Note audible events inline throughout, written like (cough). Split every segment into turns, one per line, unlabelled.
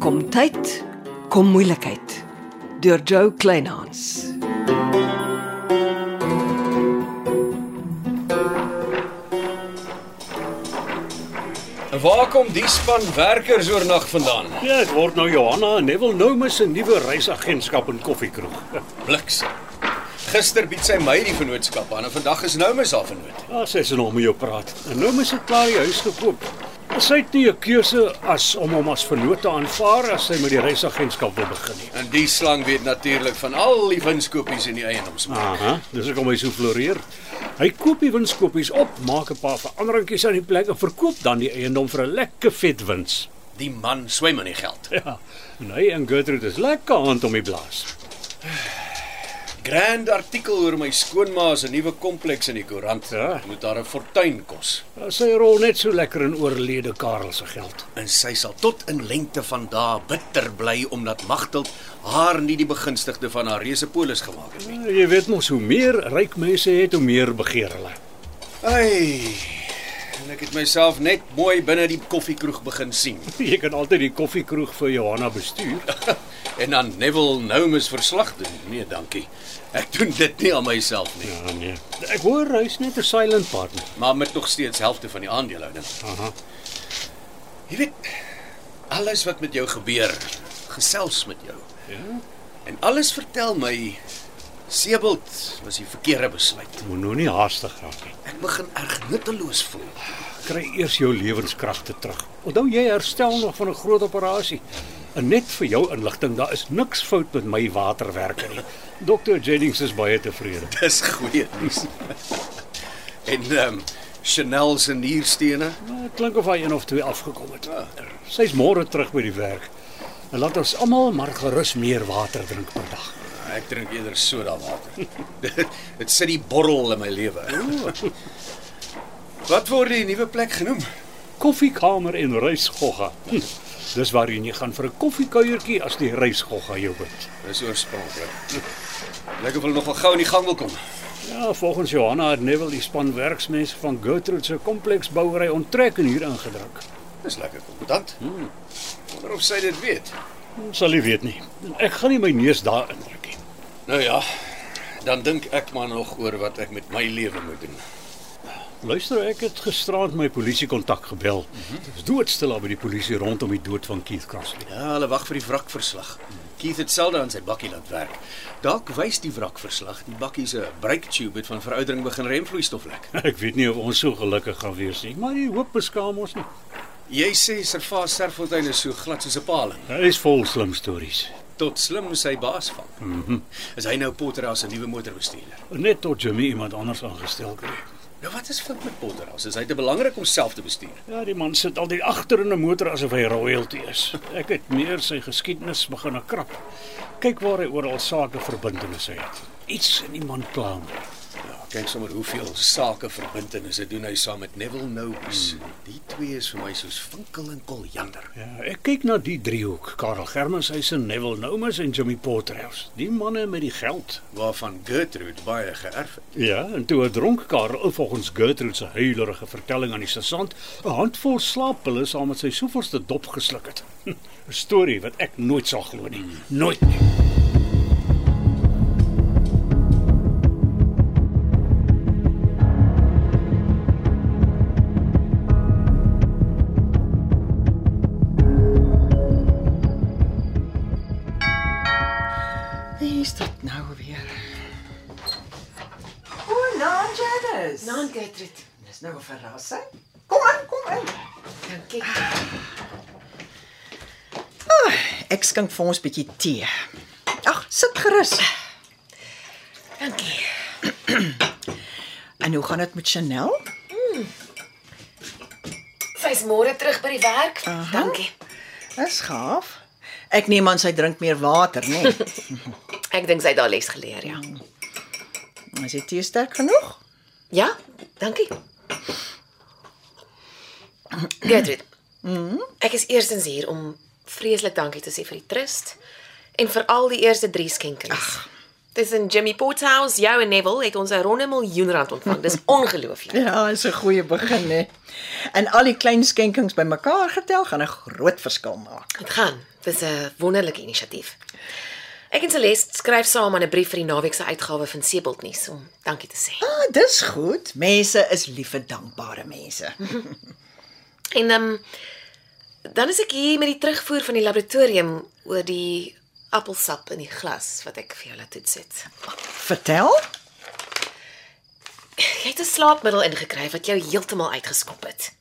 Gesondheid kom moeilikheid deur Joe Kleinhans.
Waar kom die span werkers oornag vandaan?
Ja, ek word nou Johanna en Neville Noume se nuwe reisagentskap in Koffiekroeg. (laughs)
Bliks. Gister bied sy my die vennootskap aan en vandag is nou mis haar vennoot.
Daar sê sy nou om jou praat. En Noume se klaar die huis gekoop. Sy het nie 'n keuse as om hom as vernoot te aanvaar as sy met die reisagentskap wil begin nie.
En die slang weet natuurlik van al die winskoopies in die eiendomsmark.
Aha, dis hoekom hy so floreer. Hy koop die winskoppies op, maak 'n paar veranderingkies aan die plek en verkoop dan die eiendom vir 'n lekker vet wins. (laughs)
Die man swem in die geld.
Ja. En hy en Gertrude is lekker aan om die blaas.
Grand artikel oor my skoonma se nuwe kompleks in die koerant.
Ja.
Moet haar 'n fortuin kos.
Sy rol net so lekker in oorlede Karel se geld.
En sy sal tot in lengte van dae bitter bly omdat Magteld haar nie die begunstigde van haar reusepolis gemaak het nie.
Jy weet mos hoe meer ryk mense het, hoe meer begeer hulle.
Ai. En ek het myself net mooi binne die koffiekroeg begin sien.
Jy kan altyd die koffiekroeg vir Johanna bestuur.
(laughs) En dan Neville Noumus verslag doen. Nee, dankie. Ek doen dit nie aan myself nie,
Ja nee. Ek hoor hy's net 'n silent partner.
maar met nog steeds helfte van die aandelehouding.
Aha.
Jy weet alles wat met jou gebeur, gesels met jou.
Ja.
En alles vertel my Sebelt was die verkeerde besluit.
Moet nou nie haastig raak nie.
Ek begin erg nutteloos voel.
Kry eers jou lewenskragte terug. Onthou jy herstel nog van 'n groot operasie. En net vir jou inligting, daar is niks fout met my waterwerke nie. Dr. Jennings is baie tevrede.
(laughs) Dis goeie nuus. (laughs) en ehm um, Chanel se nierstene.
Nou, Dit klink of hy een of twee afgekom het. Sy's môre terug by die werk. En laat ons almal maar gerus meer water drink per dag.
Ek drink eerder soda water. (laughs) dit dit sit die borrel in my lewe. Wat word die nuwe plek genoem?
Koffiekamer en reisgogga. Hm, dis waarheen jy gaan vir 'n koffiekuiertjie as die reisgogga jou bid.
Dis oorspronklik. Lyk of hulle nogal gou in die gang wil kom.
Ja, volgens Johanna het Neville die span werksmense van Gertrude se kompleksbouery onttrek en hier ingedruk.
Dis lekker kompetant. Wonder of sy dit weet.
Sal jy weet nie. Ek gaan nie my neus daar indruk nie.
Nou ja, dan dink ek maar nog oor wat ek met my lewe moet doen.
Luister, ek het gisteraand my polisie kontak gebel. Dit is doodstil daar by die polisie rondom die dood van Keith Crossley. (laughs)
Ja, hulle wag vir die wrakverslag. Keith het selde aan sy bakkie laat werk. Dalk wys die wrakverslag die bakkie se breuktube het van veroudering begin remvloeistof lek.
Ek weet nie of ons so gelukkig gaan wees nie, maar die hoop beskaam ons nie.
Jy sê Servaas Sterfontein is so glad soos 'n paling.
Hy is vol slim stories.
Tot slim sy baas van. Mm -hmm. Is hy nou Potter as 'n nuwe motorbestuurder?
Net tot Jimmy iemand anders aangestel kry.
Nou wat is fout met Potter as? Is hy te belangrik om self te bestuur?
Ja, die man sit altyd agter in 'n motor asof hy royalty is. Ek het meer sy geskiedenis begin krap. Kyk waar hy oral sake verbintenisse het. Iets in die man kla hom.
Ja, kyk sommer hoeveel sake verbintenisse doen hy saam met Neville Nobus. Mm. Die twee is vir my soos vinkel en koljander.
Ja, ek kyk na die driehoek, Karel Germans, hy se Neville Noumus en Jimmy Potterhouse. Die manne met die geld.
Waarvan Gertrude baie geërf het.
Ja, en toe 'n dronk Karel volgens Gertrude se huilerige vertelling aan die sergeant 'n handvol slaappille saam met sy soveelste dop gesluk het. (laughs) 'n Storie wat ek nooit sal glo nie. Nooit nie.
Wie is dit nou weer?
O, Naan Janice.
Naan Gertrude.
Dis nou 'n verrassing. Kom in, kom in.
Dankie.
Ek skink vir ons bietjie tee. Ag, sit gerus.
Dankie.
(clears throat) En hoe gaan dit met Chanel?
Sy's môre terug by die werk. Aha. Dankie.
Dis gaaf. Ek neem aan sy drink meer water, nê? (laughs) Nee.
Ek dink sy het daar les geleer, ja.
Is die tee sterk genoeg?
Ja, dankie. Gertrude. Mhm. Ek is eerstens hier om vreeslik dankie te sê vir die trust en vir al die eerste 3 skenkings. Tussen Jimmy Porthouse, jou en Neville het ons 'n ronde miljoen rand ontvang. Dis ongelooflik.
Ja, is 'n goeie begin, nê. En al die klein skenkings bymekaar getel gaan 'n groot verskil maak.
Dit gaan. Dis 'n wonderlike inisiatief. Ek en Celeste skryf saam aan 'n brief vir die naweek se uitgawe van Sebelt nuus om dankie te sê.
Ah, dis goed. Mense is lief vir dankbare mense.
En ehm um, dan is ek hier met die terugvoer van die laboratorium oor die appelsap in die glas wat ek vir jou laat toets het.
Vertel?
Jy het 'n slaapmiddel ingekry wat jou heeltemal uitgeskop het.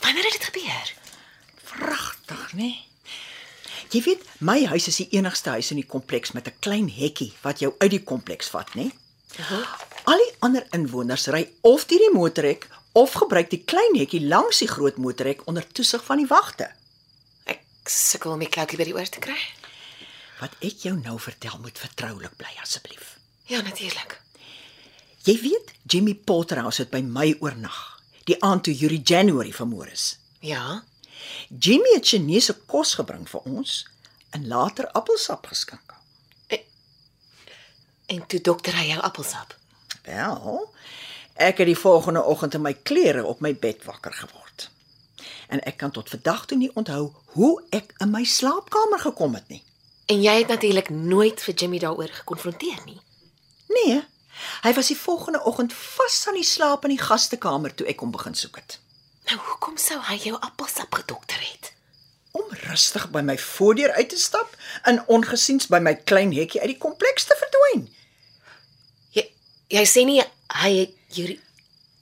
Wanneer het dit gebeur?
Pragtig, né? Jy weet, my huis is die enigste huis in die kompleks met 'n klein hekkie wat jou uit die kompleks vat, né? Al die ander inwoners ry of deur die motorhek of gebruik die klein hekkie langs die groot motorhek onder toesig van die wagte.
Ek sukkel om die kloutjie by die oor te kry.
Wat ek jou nou vertel moet vertroulik bly asseblief.
Ja, natuurlik.
Jy weet, Jimmy Potterhouse het by my oornag, die aand toe Yuri January vermoor is.
Ja.
Jimmy het Chinese kos gebring vir ons en later appelsap geskink.
En toe dokter hy jou appelsap.
Wel, ek het die volgende oggend in my klere op my bed wakker geword. En ek kan tot vandag toe nie onthou hoe ek in my slaapkamer gekom het nie.
En jy het natuurlik nooit vir Jimmy daaroor gekonfronteer nie.
Nee, hy was die volgende oggend vas aan die slaap in die gastekamer toe ek hom begin soek het.
Nou hoekom sou hy jou appelsap gedokter het?
Om rustig by my voordeur uit te stap en ongesiens by my klein hekkie uit die kompleks te verdwyn.
Jy jy sê nie hy het Yuri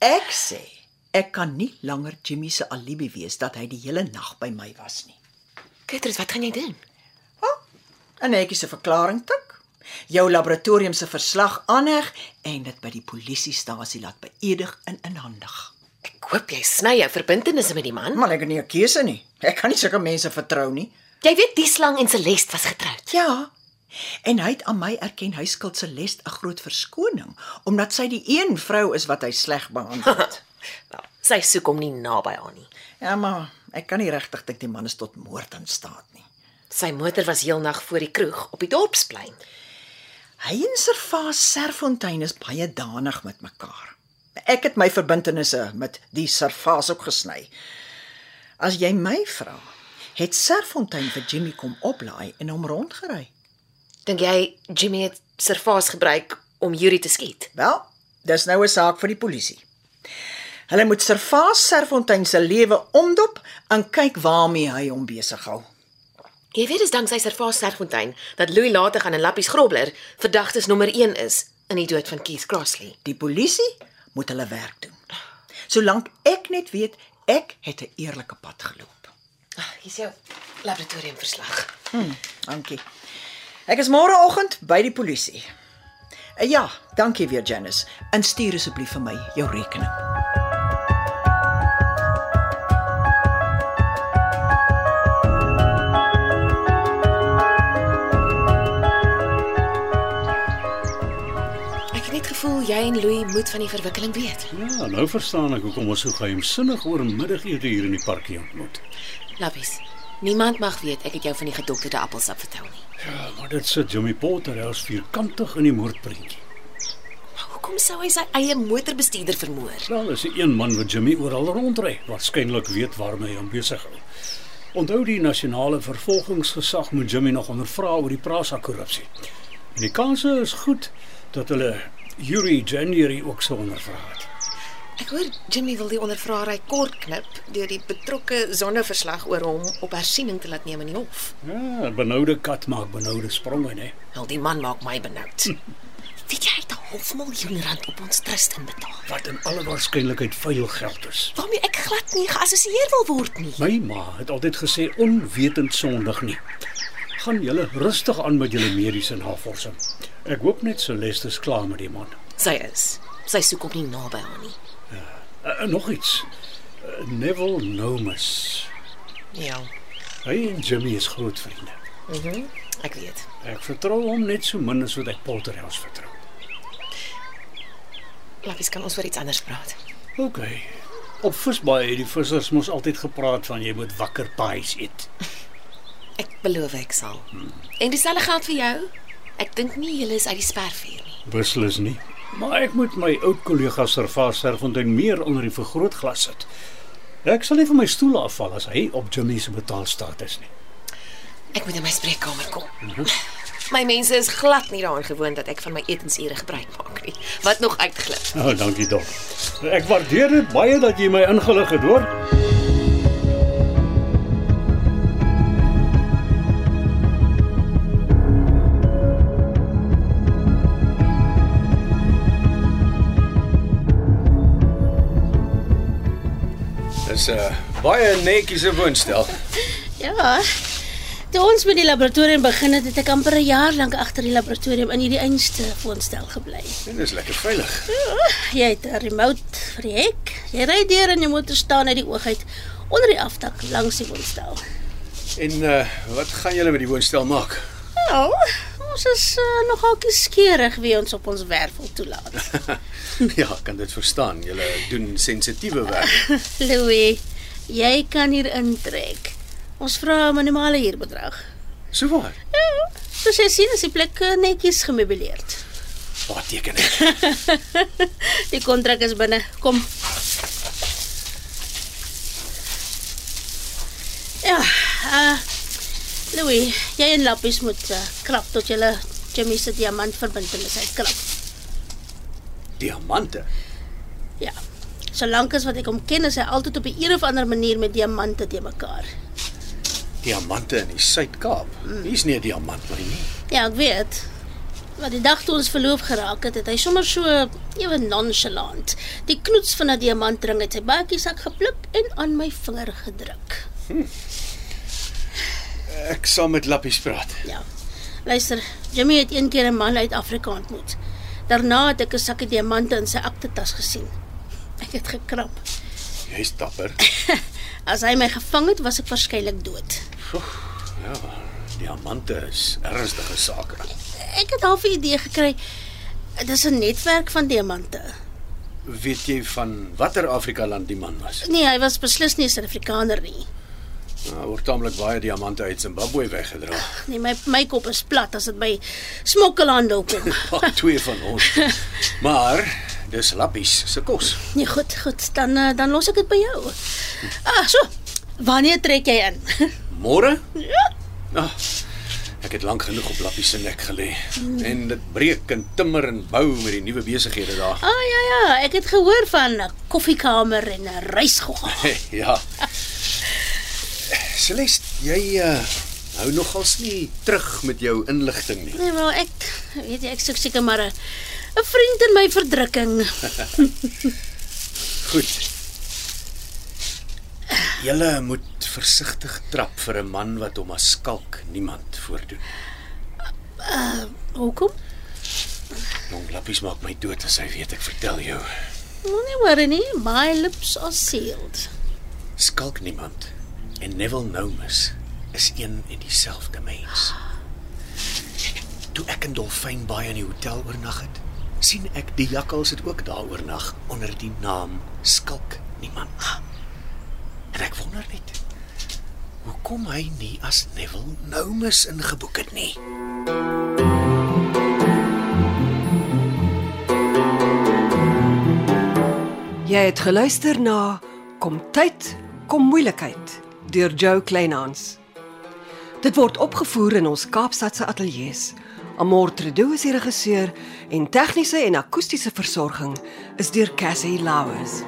Ek sê, ek kan nie langer Jimmy se alibi wees dat hy die hele nag by my was nie.
Gertrud, wat gaan jy doen?
Wel, en ek is 'n verklaring tik. Jou laboratorium se verslag aanheg en dit by die polisiestasie laat beëdig en inhandig.
Ek hoop jy sny jou verbintenisse met die man.
Maar ek het nie 'n keuse nie. Ek kan nie sulke mense vertrou nie.
Jy weet die slang en Celeste was getroud.
Ja. En hy het aan my erken hy skuld Celeste 'n groot verskoning omdat sy die een vrou is wat hy sleg behandel het.
Wel, sy soek hom nie naby haar nie.
(laughs) ja, maar ek kan nie regtig dink die man is tot moord in staat nie.
Sy motor was heelnag voor die kroeg op die dorpsplein.
Hy en Servaas Serfontein is baie danig met mekaar. Ek het my verbintenisse met die Servaas ook gesny. As jy my vra, het Serfontein vir Jimmy kom oplaai en hom rondgery.
Dink jy Jimmy het servaas gebruik om Yuri te skiet?
Wel, dis nou 'n saak vir die polisie. Hulle moet Servaas Serfontein se lewe omdop en kyk waarmee hy hom besig hou.
Jy weet dis danksy servaas Serfontein dat Louis later gaan in Lappies Grobler verdagtes nommer 1 is in die dood van Keith Crossley.
Die polisie moet hulle werk doen. Solank ek net weet ek het 'n eerlike pad geloop.
Ah, hier's jou laboratoriumverslag.
Dankie. Ek is môreoggend by die polisie. Eh, Ja, dankie weer Janice. Instuur asseblief vir my jou rekening.
Ek het net gevoel jy en Louis moet van die verwikkeling weet.
Ja, nou verstaan ek hoekom ons so geheimsinnig oor 'n middagete hier in die parkie ontmoet.
Lappies. Niemand mag weet ek het jou van die gedokterde appelsap vertel nie.
Ja, maar dit sit Jimmy Potter als vierkantig in die moordprentjie.
Maar hoekom sou hy sy eie motorbestuurder vermoor?
Wel, is die een man wat Jimmy oral rondry, waarskynlik weet waarmee hy hom besig hou. Onthou die nasionale vervolgingsgesag moet Jimmy nog ondervra oor die Prasa korrupsie. En die kans is goed dat hulle Yuri January ook sou ondervra het.
Ek hoor Jimmy wil die ondervraery kort knip deur die betrokke sondeverslag oor hom op hersiening te laat neem in die hof.
Ja, 'n benoude kat maak benoude spronge, né?
Wel, die man maak my benoud. Weet jy hy het 'n half miljoen rand op ons trust inbetaal.
Wat in alle waarskynlikheid vuil geld is.
Waarmee ek glad nie geassosieer wil word nie.
My ma het altyd gesê onwetend sondig nie. Gaan julle rustig aan met julle mediese navorsing. Ek hoop net Celeste is klaar met die man.
Sy is. Sy soek hom nie naby haar nie.
Uh, nog iets. Uh, Neville Nomus.
Ja,
Hy en Jimmy is groot vriende.
ek weet.
Ek vertrou hom net so min as wat ek Polterhouse vertrou.
Lappies kan ons oor iets anders praat.
OK. Op visbaai het die vissers mos altyd gepraat van jy moet wakker paais eet.
Ek beloof ek sal. En dieselfde geld vir jou. Ek dink nie jy is uit die spervuur nie.
Beslis nie. Maar ek moet my oud kollega Servaas Serfontein meer onder die vergrootglas sit. Ek sal nie van my stoel afval as hy op Jimmy se betaalstaat is nie.
Ek moet in my spreekkamer kom. My mense is glad nie daaraan gewoond dat ek van my etensure gebruik maak nie. Wat nog uitglip.
Nou, oh, dankie dok. Ek waardeer dit baie dat jy my ingelig het, hoor.
Dis 'n uh, baie netjiese woonstel.
Ja. Toe ons met die laboratorium begin het, het ek amper 'n jaar lank agter die laboratorium in hierdie einste woonstel gebly.
Dit is lekker veilig.
Jy het 'n remote vir die hek. Jy ry deur en jou motor staan uit die oog uit onder die afdak langs die woonstel.
En uh wat gaan julle met die woonstel maak?
Ja, ons is uh, nogal kieskeurig wie ons op ons werf wil toelaat.
(laughs) ja, ek kan dit verstaan. Julle doen sensitiewe werk.
Louis, jy kan hier intrek. Ons vra 'n minimale huurbedrag.
So waar.
Ja, soos jy sien is die plek eh, netjies gemeubileerd.
Wat teken ek?
Die kontrak is binne. Kom. Ja, uh Louis, jy en Lappies moet uh, krap tot julle Jimmy se diamant verbintenis uitkrap.
Diamante.
Ja. Solank as wat ek hom ken, is hy altyd op 'n een of ander manier met diamante te mekaar.
Diamante in die Suid-Kaap. Hier's nie 'n diamant by nie.
Ja, ek weet. Maar die dag toe ons verloof geraak het, het hy sommer so ewe nonchalant die knoets van 'n diamantring uit sy bakiesak gepluk en aan my vinger gedruk.
Ek sal met Lappies praat.
Ja. Luister, Jimmy het een keer 'n man uit Afrika ontmoet. Daarna het ek 'n sakkie diamante in sy aktetas gesien. Ek het gekrap.
Jy's dapper.
As hy my gevang het, was ek waarskynlik dood.
Ja, diamante is ernstige sake.
Ek het half 'n idee gekry. Dis 'n netwerk van diamante.
Weet jy van watter Afrika land die man was? Nou,
Nee, hy was beslis nie 'n Suid-Afrikaner nie.
Daar word taamlik baie diamante uit Zimbabwe weggedra.
Nee, my my kop is plat as dit by smokkelhandel kom.
Ag, twee van ons. Maar dis Lappies se kos.
Nee, goed, goed, dan eh, dan los ek dit by jou. Ah, so. Wanneer trek jy in?
Môre? Ja. Ah, ek het lank genoeg op Lappies se nek gelê en dit breek en timmer en bou met die nuwe besighede daar.
Ah ja ja, ek het gehoor van 'n koffiekamer en 'n reisgogga.
(laughs) ja. Celeste, jy uh, hou nogals nie terug met jou inligting nie.
Nee, maar ek weet jy, ek soek seker maar 'n 'n vriend in my verdrukking.
Goed. Julle moet versigtig trap vir 'n man wat hom as skalk niemand voordoen.
Hoekom?
Jong lappies maak my dood as hy weet ek vertel jou.
Moenie worry Nou, nie, my lips are sealed.
Skalk niemand en Neville Nomus is een en dieselfde mens. Toe ek in Dolfyn Bay in die hotel oornag het, sien ek die jakkals het ook daar oornag onder die naam Skalk niemand. En ek wonder net hoekom hy nie as Neville Nomus ingeboek het nie.
Jy het geluister na Kom tyd, kom moeilikheid deur Jo Kleinhans. Dit word opgevoer in ons Kaapstadse ateljee se. Amortredo is die regisseur en tegniese en akoestiese versorging is deur Cassie Lauers.